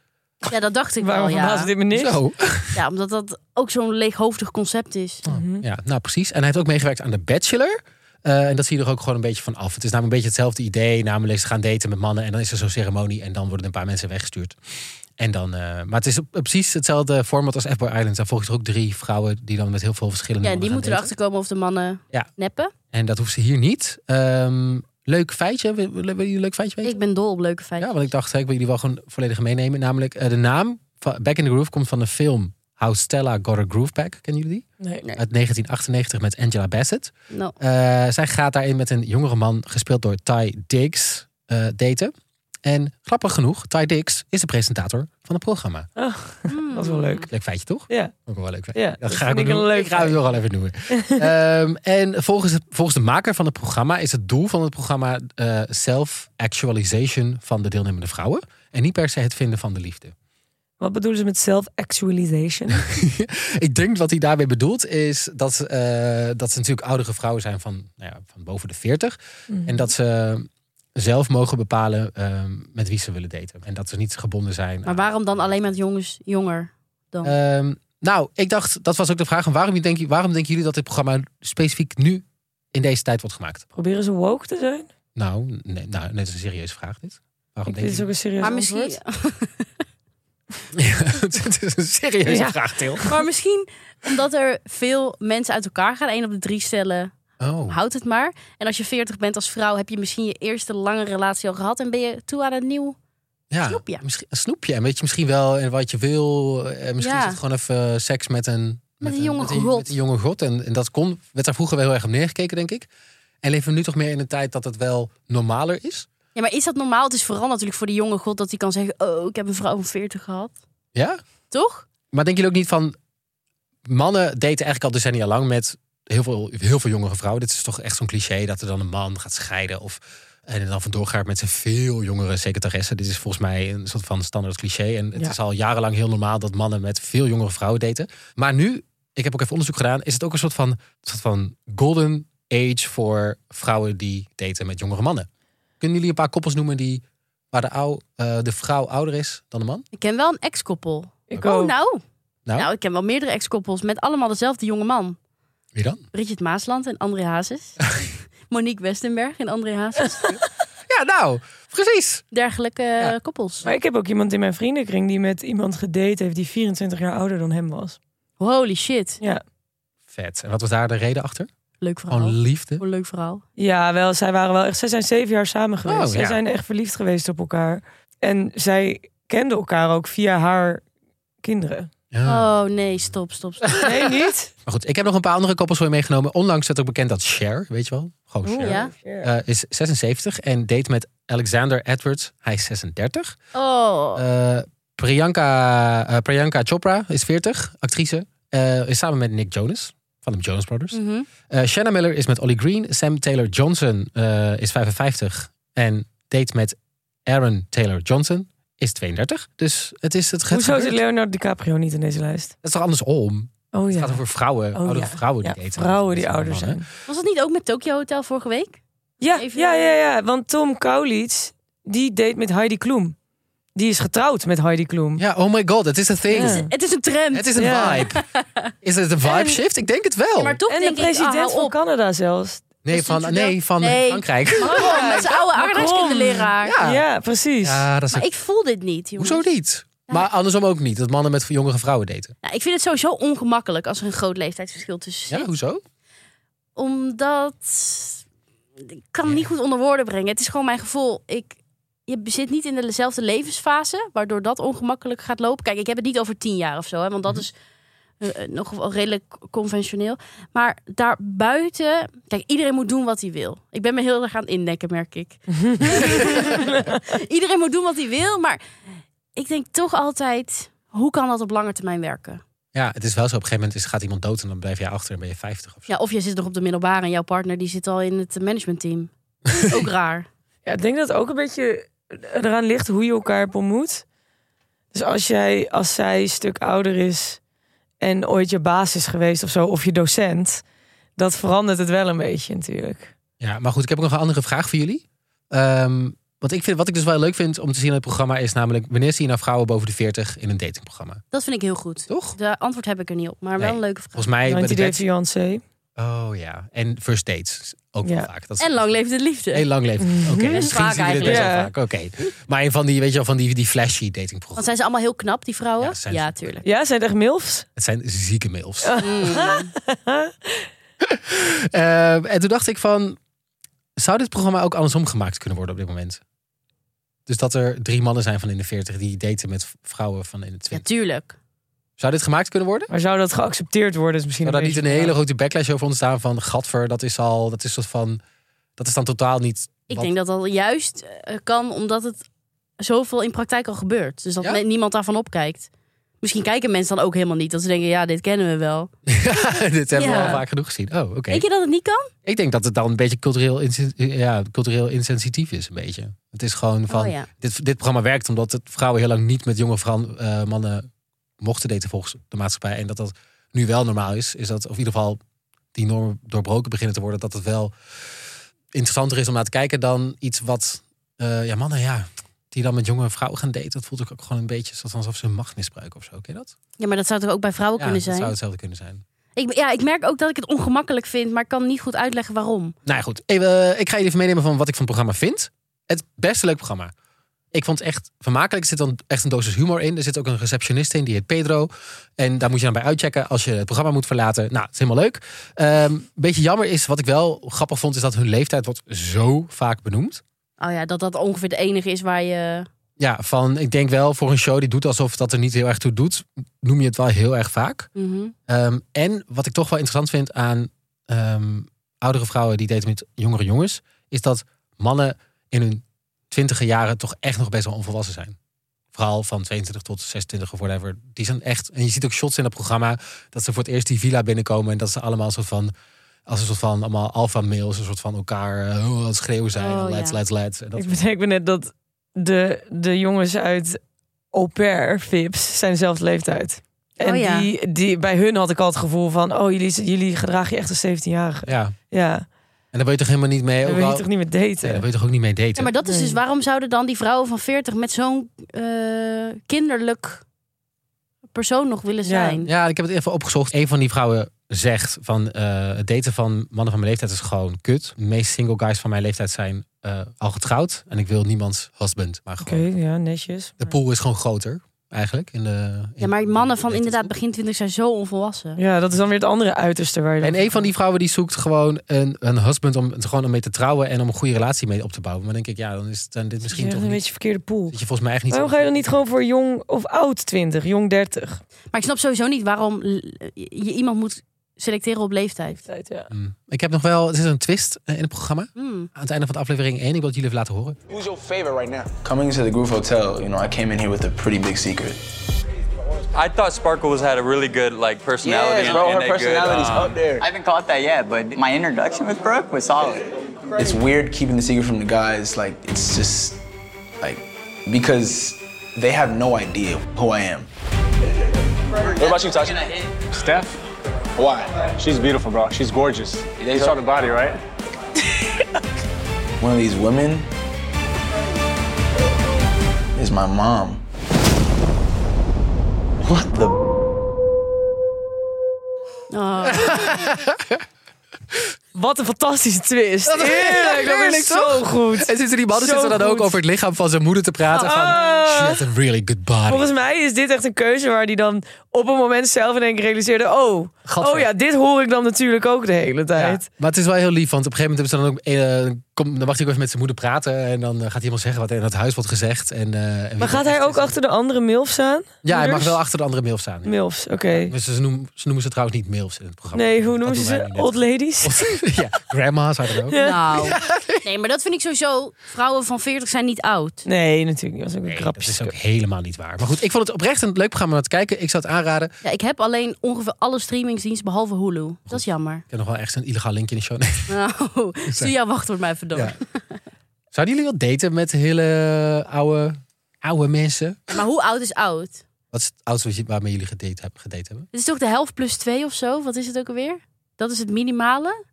Ja, dat dacht ik wel,
Waarom
ja.
verbaasde dit me niks?
Zo.
Ja, omdat dat ook zo'n leeghoofdig concept is.
Mhm.
Ja, nou precies. En hij heeft ook meegewerkt aan The Bachelor. Eh, en dat zie je er ook gewoon een beetje van af. Het is namelijk een beetje hetzelfde idee. Namelijk, ze gaan daten met mannen en dan is er zo'n ceremonie. En dan worden een paar mensen weggestuurd. En dan, eh, maar het is op- precies hetzelfde format als Fuckboy Island. Daar volgens er ook drie vrouwen die dan met heel veel verschillende
Ja,
mannen
die
gaan
moeten
daten.
erachter komen of de mannen
Ja.
neppen.
En dat hoeft ze hier niet. Ehm, leuk feitje. Wil- Willen jullie een leuk feitje weten?
Ik ben dol op leuke
Ja,
feiten.
want ik dacht, hè, ik wil jullie wel gewoon volledig meenemen. Namelijk, eh, de naam van Back in the Groove komt van de film How Stella Got Her Groove Back. Kennen jullie die?
Nee.
Nee.
Uit 1998 met Angela Bassett.
Nou,
Eh, zij gaat daarin met een jongere man, gespeeld door Ty Diggs, eh, daten. En grappig genoeg, Ty Diggs is de presentator van het programma.
hmm.
Dat is wel leuk.
Leuk feitje, toch?
Ja,
Ook wel een leuk feitje.
ja.
Dat ga ik,
vind
ook
ik een
doen.
leuk
ik ga het
feit.
nog wel even noemen. Ehm, en volgens, het- volgens de maker van het programma is het doel van het programma eh, self-actualization van de deelnemende vrouwen. En niet per se het vinden van de liefde.
Wat bedoelen ze met self-actualization?
Ik denk wat hij daarmee bedoelt is dat, eh, dat ze natuurlijk oudere vrouwen zijn van, nou ja, van boven de 40.
Mm.
En dat ze zelf mogen bepalen ehm, met wie ze willen daten. En dat ze niet gebonden zijn.
Maar
aan-
waarom dan alleen met jongens jonger? dan?
Ehm, nou, ik dacht, dat was ook de vraag. En waarom, denk, je- waarom denken jullie dat dit programma specifiek nu in deze tijd wordt gemaakt?
Proberen ze woke te zijn?
Nou, nee, nou, nee, dat is een serieuze vraag dit. Waarom
Ik vind
denk
het
je?
ook een serieus
maar misschien,
antwoord.
Het is een serieuze
Ja.
vraag, Til.
maar misschien omdat er veel mensen uit elkaar gaan. Eén op de drie stellen
Oh.
houdt het maar. En als je 40 bent als vrouw, heb je misschien je eerste lange relatie al gehad. En ben je toe aan een nieuw.
Ja,
Snoepje.
Misschien, een snoepje. En weet je misschien wel en wat je wil. En misschien
Ja.
is het gewoon even eh, seks met een... Met,
een jonge
met
god.
Met een jonge god. En, en dat kon, werd daar vroeger wel heel erg op neergekeken, denk ik. En leven we nu toch meer in een tijd dat het wel normaler is?
Ja, maar is dat normaal? Het is vooral natuurlijk voor de jonge god dat hij kan zeggen: Oh, ik heb een vrouw van 40 gehad.
Ja?
Toch?
Maar denken jullie ook niet van... Mannen daten eigenlijk al decennia lang met heel veel, heel veel jongere vrouwen. Dit is toch echt zo'n cliché dat er dan een man gaat scheiden of... En er dan vandoor gaat met zijn veel jongere secretaresse. Dit is volgens mij een soort van standaard cliché. En het
Ja.
is al jarenlang heel normaal dat mannen met veel jongere vrouwen daten. Maar nu, ik heb ook even onderzoek gedaan, is het ook een soort van, soort van golden age voor vrouwen die daten met jongere mannen. Kunnen jullie een paar koppels noemen die, waar de, ou, eh, de vrouw ouder is dan de man?
Ik ken wel een ex-koppel.
Ik
Oh,
ook.
nou.
Nou?
nou. ik ken wel meerdere ex-koppels met allemaal dezelfde jonge man.
Wie dan?
Bridget Maasland en André Hazes. Monique Westenberg en André Hazes.
Ja, nou, precies.
Dergelijke eh,
Ja.
koppels.
Maar ik heb ook iemand in mijn vriendenkring die met iemand gedate heeft die 24 jaar ouder dan hem was.
Holy shit.
Ja,
Vet. En wat was daar de reden achter?
Leuk verhaal.
Gewoon liefde.
Hoe leuk verhaal.
ja wel, zij waren wel echt. Zij zijn zeven jaar samen geweest.
Oh,
Zij
ja.
zijn echt verliefd geweest op elkaar. En zij kenden elkaar ook via haar kinderen.
Ja.
Oh nee, stop, stop, stop.
Nee, niet?
Maar goed, ik heb nog een paar andere koppels voor je meegenomen. Onlangs werd ook bekend dat Cher, weet je wel? Gewoon Cher.
Oeh,
Ja.
ja.
eh, is 76 en date met Alexander Edwards. Hij is 36.
Oh.
Eh, Priyanka, eh, Priyanka Chopra is 40, actrice. Eh, is samen met Nick Jonas van de Jonas Brothers.
Mhm.
Eh, Shanna Miller is met Ollie Green. Sam Taylor Johnson eh, is 55 en date met Aaron Taylor Johnson is 32. Dus het is het. het
Hoezo zit
gebeurt.
Leonardo DiCaprio niet in deze lijst?
Dat is toch andersom?
Oh
Het
ja.
gaat over vrouwen,
Oh,
oude
ja.
vrouwen die
Ja,
daten.
vrouwen die
Dat is
ouder
allemaal,
zijn.
Was dat niet ook met Tokyo Hotel vorige week?
Ja,
Even-
ja, ja, ja. Want Tom Kaulitz, die date met Heidi Klum. Die is getrouwd met Heidi Klum.
hè? Ja, oh my god, het is een thing.
Ja.
Het is een trend.
Het is een
Ja.
vibe. Is het een vibe
En-
shift? Ik denk het wel.
Ja, maar toch
en de
denk
president
ik, ah, hou
van
op.
Canada zelfs.
nee,
dus
van,
toen-
nee, van
Nee.
Frankrijk.
Macron, Oh, met zijn oude aardrijkskinderleraar.
Ja,
Ja.
precies.
Ja, dat is
Maar ik voel dit niet, jongens.
Hoezo niet? Maar andersom ook niet, dat mannen met jongere vrouwen daten.
Nou, ik vind het sowieso ongemakkelijk als er een groot leeftijdsverschil tussen zit.
Ja, hoezo?
Omdat... Ik kan het niet goed onder woorden brengen. Het is gewoon mijn gevoel. Ik... Je zit niet in dezelfde levensfase, waardoor dat ongemakkelijk gaat lopen. Kijk, ik heb het niet over tien jaar of zo, hè, want dat is eh, eh, nog wel redelijk conventioneel. Maar daarbuiten, kijk, iedereen moet doen wat hij wil. Ik ben me heel erg aan het indekken, merk ik. iedereen moet doen wat hij wil, maar ik denk toch altijd, hoe kan dat op lange termijn werken?
Ja, het is wel zo. Op een gegeven moment is, gaat iemand dood en dan blijf jij achter en ben je 50 of zo.
Ja, of je zit nog op de middelbare en jouw partner die zit al in het managementteam. Ook raar.
Ja, ik denk dat het ook een beetje eraan ligt hoe je elkaar ontmoet. Dus als, jij, als zij een stuk ouder is en ooit je baas is geweest of zo, of je docent, dat verandert het wel een beetje natuurlijk.
Ja, maar goed, ik heb ook nog een andere vraag voor jullie. Ehm, want ik vind, wat ik dus wel leuk vind om te zien in het programma is namelijk... wanneer zie je nou vrouwen boven de 40 in een datingprogramma?
Dat vind ik heel goed.
Toch?
De antwoord heb ik er niet op, maar wel
Nee.
een leuke vraag.
Volgens mij... bij
90
de
Day
bachelor-
Fiancé.
Oh ja, en first dates ook
Ja.
wel vaak. Dat is-
En lang leefde de liefde.
Heel lang leven. Oké,
Mhm.
misschien
Vaak
zien jullie het best wel
eigenlijk.
vaak. Oké, maar een van die, weet je wel, van die, die flashy
Want
datingprogramma's.
zijn ze allemaal heel knap, die vrouwen?
Ja,
Ja,
zijn ze.
tuurlijk.
Ja, zijn het echt milfs?
Het zijn zieke mails.
Mm.
Eh, en toen dacht ik van, zou dit programma ook andersom gemaakt kunnen worden op dit moment? Dus dat er drie mannen zijn van in de 40 die daten met vrouwen van in de
Ja,
20.
tuurlijk.
Zou dit gemaakt kunnen worden?
Maar zou dat geaccepteerd worden? Is misschien
Zou daar niet
beetje
een hele
de vraag.
grote backlash over ontstaan van gadver, dat is al, dat is soort van, dat is dan totaal niet.
Ik
wat-
denk dat dat juist eh, kan omdat het zoveel in praktijk al gebeurt. Dus dat
Ja?
ne- niemand daarvan opkijkt. Misschien kijken mensen dan ook helemaal niet. Dat ze denken, ja, dit kennen we wel.
dit hebben we
Ja.
al vaak genoeg gezien. Oh, oké.
Denk je dat het niet kan?
Ik denk dat het dan een beetje cultureel, insen- ja, cultureel insensitief is, een beetje. Het is gewoon van,
Oh ja.
dit, dit programma werkt omdat het vrouwen heel lang niet met jonge vrouw, eh, mannen mochten daten volgens de maatschappij. En dat dat nu wel normaal is. Is dat, of in ieder geval die normen doorbroken beginnen te worden. Dat het wel interessanter is om naar te kijken dan iets wat, eh, ja mannen ja, die dan met jonge vrouwen gaan daten. Dat voelt ook, ook gewoon een beetje soort van alsof ze hun macht misbruiken of zo. Ken je dat?
Ja, maar dat zou toch ook bij vrouwen
ja,
kunnen
dat zou
zijn?
hetzelfde kunnen zijn.
Ik, ja, ik merk ook dat ik het ongemakkelijk vind, maar ik kan niet goed uitleggen waarom.
Nou ja, goed. Even, eh, ik ga jullie even meenemen van wat ik van het programma vind. Het beste leuk programma. Ik vond het echt vermakelijk. Er zit dan echt een dosis humor in. Er zit ook een receptionist in, die heet Pedro. En daar moet je dan bij uitchecken als je het programma moet verlaten. Nou, het is helemaal leuk. Ehm beetje jammer is, wat ik wel grappig vond, is dat hun leeftijd wordt zo vaak benoemd.
Oh ja, dat dat ongeveer de enige is waar je...
Ja, van ik denk wel voor een show die doet alsof dat er niet heel erg toe doet, noem je het wel heel erg vaak.
Mhm.
Ehm, en wat ik toch wel interessant vind aan ehm, oudere vrouwen die daten met jongere jongens, is dat mannen in hun twintige jaren toch echt nog best wel onvolwassen zijn. Vooral van 22 tot 26 of whatever. Die zijn echt. En je ziet ook shots in het programma dat ze voor het eerst die villa binnenkomen en dat ze allemaal soort van. Als een soort van allemaal alpha males, een soort van elkaar eh, oh, aan het schreeuwen zijn.
Oh,
let's,
ja.
let's, let's. En dat-
Ik bedenk me net dat de, de jongens uit au pair, VIPs, zijn dezelfde leeftijd. En
Oh ja.
die, die, bij hun had ik al het gevoel van... oh, jullie, jullie gedragen je echt als 17-jarige.
ja. En
Ja,
daar wil je toch helemaal niet mee.
daar
Ook
wil
al-
je toch niet eh. meer
Nee, daar
daten?
wil je toch ook niet mee daten.
Ja, maar dat is
Nee.
dus waarom zouden dan die vrouwen van 40 met zo'n eh, kinderlijk persoon nog willen
Ja.
zijn?
Ja, ik heb het even opgezocht. Een van die vrouwen zegt van eh, het daten van mannen van mijn leeftijd is gewoon kut. De meeste single guys van mijn leeftijd zijn eh, al getrouwd. En ik wil niemands husband. Maar
Oké,
gewoon.
ja, netjes.
De pool is gewoon groter, eigenlijk. In de, in
Ja, maar mannen van
de-
inderdaad begin 20 zijn zo onvolwassen.
Ja, dat is dan weer het andere uiterste waar je...
En een van die vrouwen die zoekt gewoon een, een husband om gewoon om mee te trouwen en om een goede relatie mee op te bouwen. Maar dan denk ik, ja, dan is het- dan dit misschien
misschien
toch
een
niet.
beetje verkeerde pool.
Dat je volgens mij echt niet.
Waarom ga je dan niet gewoon voor jong of oud 20, jong 30?
Maar ik snap sowieso niet waarom l- je iemand moet selecteren op leeftijd.
Ja.
Hmm. Ik heb nog wel, het is een twist eh, in het programma.
Hmm.
Aan het einde van de aflevering 1, ik wil het jullie even laten horen.
Who's your favorite right now?
Coming into the Groove Hotel, you know, I came in here with a pretty big secret.
I thought Sparkle was had a really good like personality.
Yes,
and-
bro,
and
her
a good,
personality's
um,
up there.
I haven't caught that yet, but my introduction with Brooke was solid.
It's weird keeping the secret from the guys. Like, it's just Like, because they have no idea who I am.
What about you, Tasha? Steph?
Why?
She's beautiful, bro. She's gorgeous. You saw the body, right?
One of these women is my mom. What the?
Wat een fantastische twist. Heerlijk, dat
Heerlijk,
is zo
toch?
goed.
En zitten die mannen
Zo
zitten dan ook
goed.
over het lichaam van zijn moeder te praten.
Ah.
Van, she had a really good body.
Volgens mij is dit echt een keuze waar die dan op een moment zelf in één keer realiseerde... oh,
Gadver.
oh ja, dit hoor ik dan natuurlijk ook de hele
Ja,
tijd.
Maar het is wel heel lief, want op een gegeven moment hebben ze dan ook. eh, kom, dan mag hij ook even met zijn moeder praten. En dan eh, gaat hij helemaal zeggen wat er in het huis wordt gezegd. En, eh, en wie
Maar
dat
gaat hij
echt
ook
is.
achter de andere MILFs aan?
Ja, hij mag
Moeders?
wel achter de andere MILF staan. ja.
MILFs, oké.
Maar Ze, ze noemen, ze noemen ze trouwens niet MILFs in het programma.
Nee, hoe
Dat
noemen ze
doen wij
ze?
nu net.
Old ladies?
ja, grandma's, I don't know.
Nou. Nee, maar dat vind ik sowieso. Vrouwen van 40 zijn niet oud.
Nee, natuurlijk niet. Dat was ook een
Dat
grapje.
is ook helemaal niet waar. Maar goed, ik vond het oprecht een leuk programma om naar te kijken. Ik zou het aanraden. Ik
Ja, ik heb alleen ongeveer alle streamingsdiensten behalve Hulu. Dat is jammer.
heb nog wel echt een illegaal linkje in de show. Nee.
Nou, stuur jouw wachtwoord maar even door.
Ja. Zouden jullie wel daten met hele oude, oude mensen?
Maar hoe oud is oud?
Wat is het oudste wat je- waarmee jullie gedate, heb- gedate hebben?
Het is toch de helft plus twee of zo? Wat is het ook alweer? Dat is het minimale?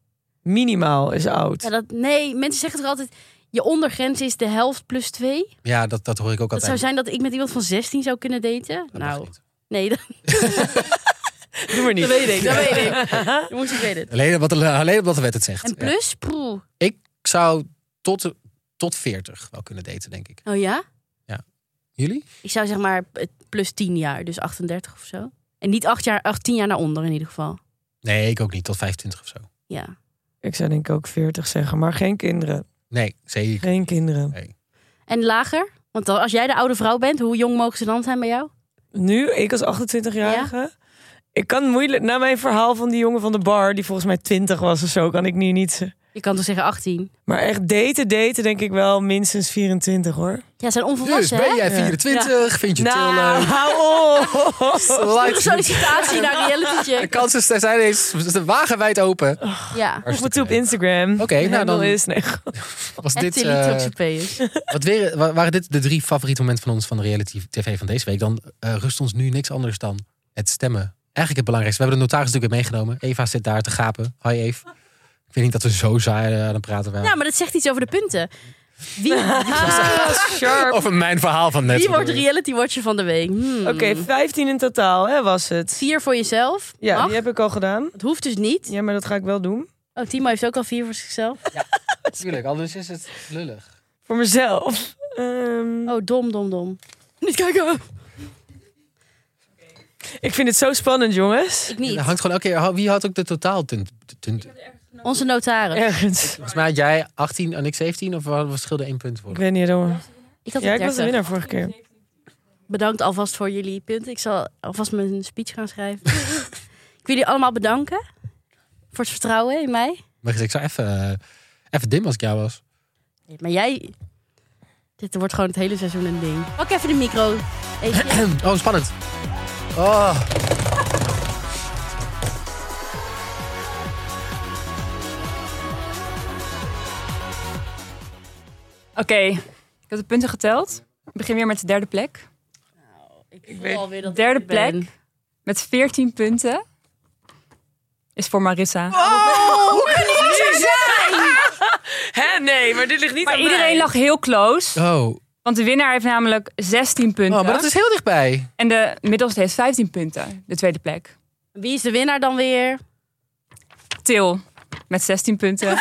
Minimaal is oud.
Ja, dat, nee, mensen zeggen toch altijd... je ondergrens is de helft plus twee? Dat,
Ja, dat, dat hoor ik ook altijd.
zou zijn dat ik met iemand van 16 zou kunnen daten?
Dat mag
nou,
niet.
nee, dat,
Doe maar
dat
niet.
weet ik. Dat weet ik. Dat moest ik weten.
Alleen, omdat, alleen omdat de wet het zegt.
En
Ja.
plus? Proe.
Ik zou tot, tot 40 wel kunnen daten, denk ik.
Oh ja?
Jullie?
Ik zou zeg maar eh, plus 10 jaar, dus 38 of zo. En niet 8 jaar, 8, 10 jaar naar onder in ieder geval.
Nee, ik ook niet. Tot 25 of zo.
Ja.
Ik zou denk ik ook 40 zeggen, maar geen kinderen.
Nee, zeker.
Geen kinderen.
En lager? Want dan- als jij de oude vrouw bent, hoe jong mogen ze dan zijn bij jou?
Nu, ik als 28-jarige... Ik kan moeilijk... Na mijn verhaal van die jongen van de bar... die volgens mij 20 was of zo... kan ik nu niet... ze-
Je kan toch zeggen 18?
Maar echt daten, daten denk ik wel minstens 24 hoor.
Ja, ze zijn
Dus
onvolwassen, hè?
ben jij 24? Vind je het heel
nou,
leuk?
hou op.
Een sollicitatie naar reality
De
check.
kansen zijn eens wagenwijd open.
Oh,
Oké,
Ja.
Voeg me toe op Instagram.
Oké, nou
Handle
dan-
Is, nee.
was
En
dit,
Tilly
eh,
Toxopeus.
wat weer, wa- waren dit de drie favoriete momenten van ons van de reality tv van deze week? Dan eh, rust ons nu niks anders dan het stemmen. Eigenlijk het belangrijkste. We hebben de notaris natuurlijk weer meegenomen. Eva zit daar te gapen. Hi Eve. Ik vind niet dat we zo saai eh, aan het praten waren.
Ja, maar dat zegt iets over de punten. Wie,
Ah, sharp. Oké,
Over mijn verhaal van net.
wie wordt reality watcher van de week?
Mm.
Hmm.
15 in totaal hè, was het.
Vier voor jezelf.
Ja,
Mag.
die heb ik al gedaan.
Het hoeft dus niet.
Ja, maar dat ga ik wel doen.
Oh, Timo heeft ook al vier voor zichzelf.
Natuurlijk, anders is het lullig.
Voor mezelf. Ehm,
Oh, dom, dom, dom. Niet kijken.
Ik vind het zo spannend, jongens.
Ik niet.
Dat hangt gewoon elke keer. Wie had ook de totaal? Tunt, tunt-
Onze notaris.
Ergens.
volgens mij had jij 18 en ik 17 of we verschilden één punt voor.
Ik weet niet, hoor.
Ik had
Ja,
het
ik was de
30.
winnaar vorige keer.
Bedankt alvast voor jullie punten. Ik zal alvast mijn speech gaan schrijven. ik wil jullie allemaal bedanken voor het vertrouwen in mij.
Maar ik zou even, eh, even dim als ik jou was.
Maar jij... Dit wordt gewoon het hele seizoen een ding. Pak even de micro. Eetje.
Oh, spannend. Oh.
Oké, ik heb de punten geteld. Ik begin weer met de derde plek.
Ik weet alweer dat
Derde
ik er ben.
plek. Met 14 punten is voor Marissa.
Oh,
Hè, nee, maar dit ligt niet
maar iedereen lag heel close.
Oh.
Want de winnaar heeft namelijk 16 punten.
oh, maar dat is heel dichtbij.
En de middelste heeft 15 punten, de tweede plek.
Wie is de winnaar dan weer?
Til met 16 punten.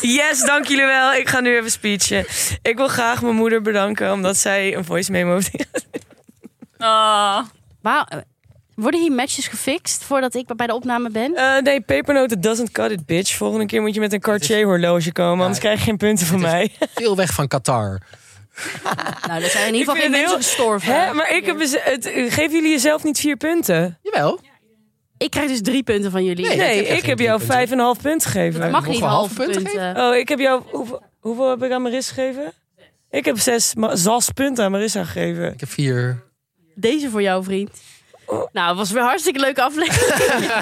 Yes, dank jullie wel. Ik ga nu even speechen. Ik wil graag mijn moeder bedanken omdat zij een voice memo heeft
Ah.
Waar, eh, worden hier matches gefixt voordat ik bij de opname ben?
Eh, nee, pepernoten doesn't cut it, bitch. Volgende keer moet je met een Cartier-horloge komen, anders krijg je geen punten van mij.
Veel weg van Qatar.
Nou, dat zijn in ieder geval
vind
geen
het
mensen
heel-
gestorven.
Hè? Maar ik heb, eens- het, geven jullie jezelf niet vier punten?
Jawel.
Ik krijg dus drie punten van jullie.
Nee,
Nee,
ik heb echt
ik heb
geen
jou
drie punten.
vijf en een half punt gegeven.
dat mag
mogen
niet.
we
Halve
halve
punten.
punten
Oh, ik heb jou... Hoeveel, hoeveel heb ik aan Marissa gegeven? Ik heb zes ma- zas punten aan Marissa gegeven.
Ik heb vier.
Deze voor jou, vriend. Nou, het was weer een hartstikke leuke aflevering.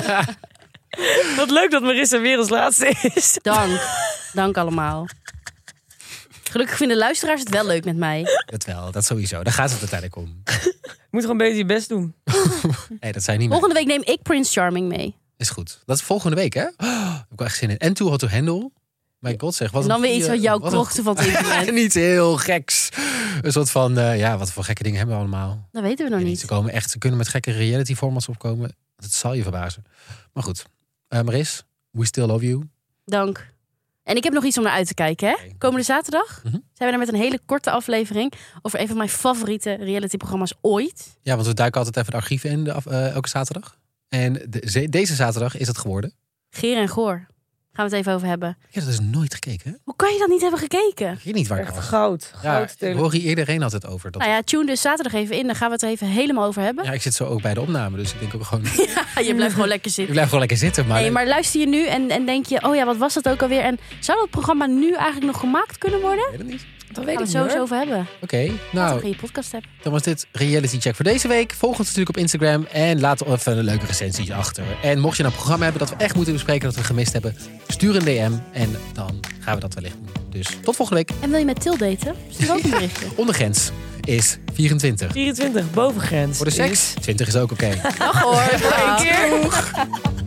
Wat leuk dat Marissa weer als laatste is.
Dank. Dank allemaal. Gelukkig vinden luisteraars het wel leuk met mij.
Dat wel, dat sowieso. Daar gaat het uiteindelijk om.
Moet gewoon beter je best doen.
Nee, dat zijn niet meer.
Volgende week neem ik Prince Charming mee.
Is goed. Dat is volgende week, hè? Oh, heb ik wel echt zin in. En Too Hot to Handle. Mijn god zeg. Wat
En Dus dan
een
weer iets
goeie-
van jouw
wat een
krochten van het internet.
niet heel geks. Een soort van, eh, ja, wat voor gekke dingen hebben we allemaal.
Dat weten we
Ik
nog
weet niet, Ze,
niet.
komen echt, ze kunnen met gekke reality formats opkomen. Dat zal je verbazen. Maar goed. Eh Maris, we still love you.
Dank. En ik heb nog iets om naar uit te kijken, hè? Komende zaterdag
Mhm.
zijn we er met een hele korte aflevering over een van mijn favoriete realityprogramma's ooit.
Ja, want we duiken altijd even de archieven in de af- eh, elke zaterdag. En de- ze- deze zaterdag is het geworden.
Geer en Goor. Gaan we het even over hebben.
Ja, dat is nooit gekeken. hè?
Hoe kan je dat niet hebben gekeken?
Ik weet niet waar ik
Echt
was.
goud.
Ja,
Goud tele-
Rory, iedereen had het over. Dat...
Nou ja, tune dus zaterdag even in. Dan gaan we het er even helemaal over hebben.
Ja, ik zit zo ook bij de opname, dus ik denk ook gewoon... Ik
je blijft gewoon lekker zitten.
blijf gewoon lekker zitten, maar...
Nee, maar luister je nu en, en denk je, oh ja, wat was dat ook alweer? En zou dat programma nu eigenlijk nog gemaakt kunnen worden?
Ik weet het niet.
Dat
Daar
weet
gaan
ik
we het
niet,
zo
hoor.
over hebben.
Oké, nou...
Als je je podcast hebt.
Dan was dit Reality Check voor deze week. Volg ons natuurlijk op Instagram en laat even een leuke recensie achter. En mocht je nou een programma hebben dat we echt moeten bespreken, dat we gemist hebben, stuur een DM en dan gaan we dat wellicht doen. Dus tot volgende week.
En wil je met Til daten? Stuur ook een berichtje.
Ondergrens is 24.
24, bovengrens.
Voor de seks, 20 is ook oké.
Dag hoor.
Eén keer.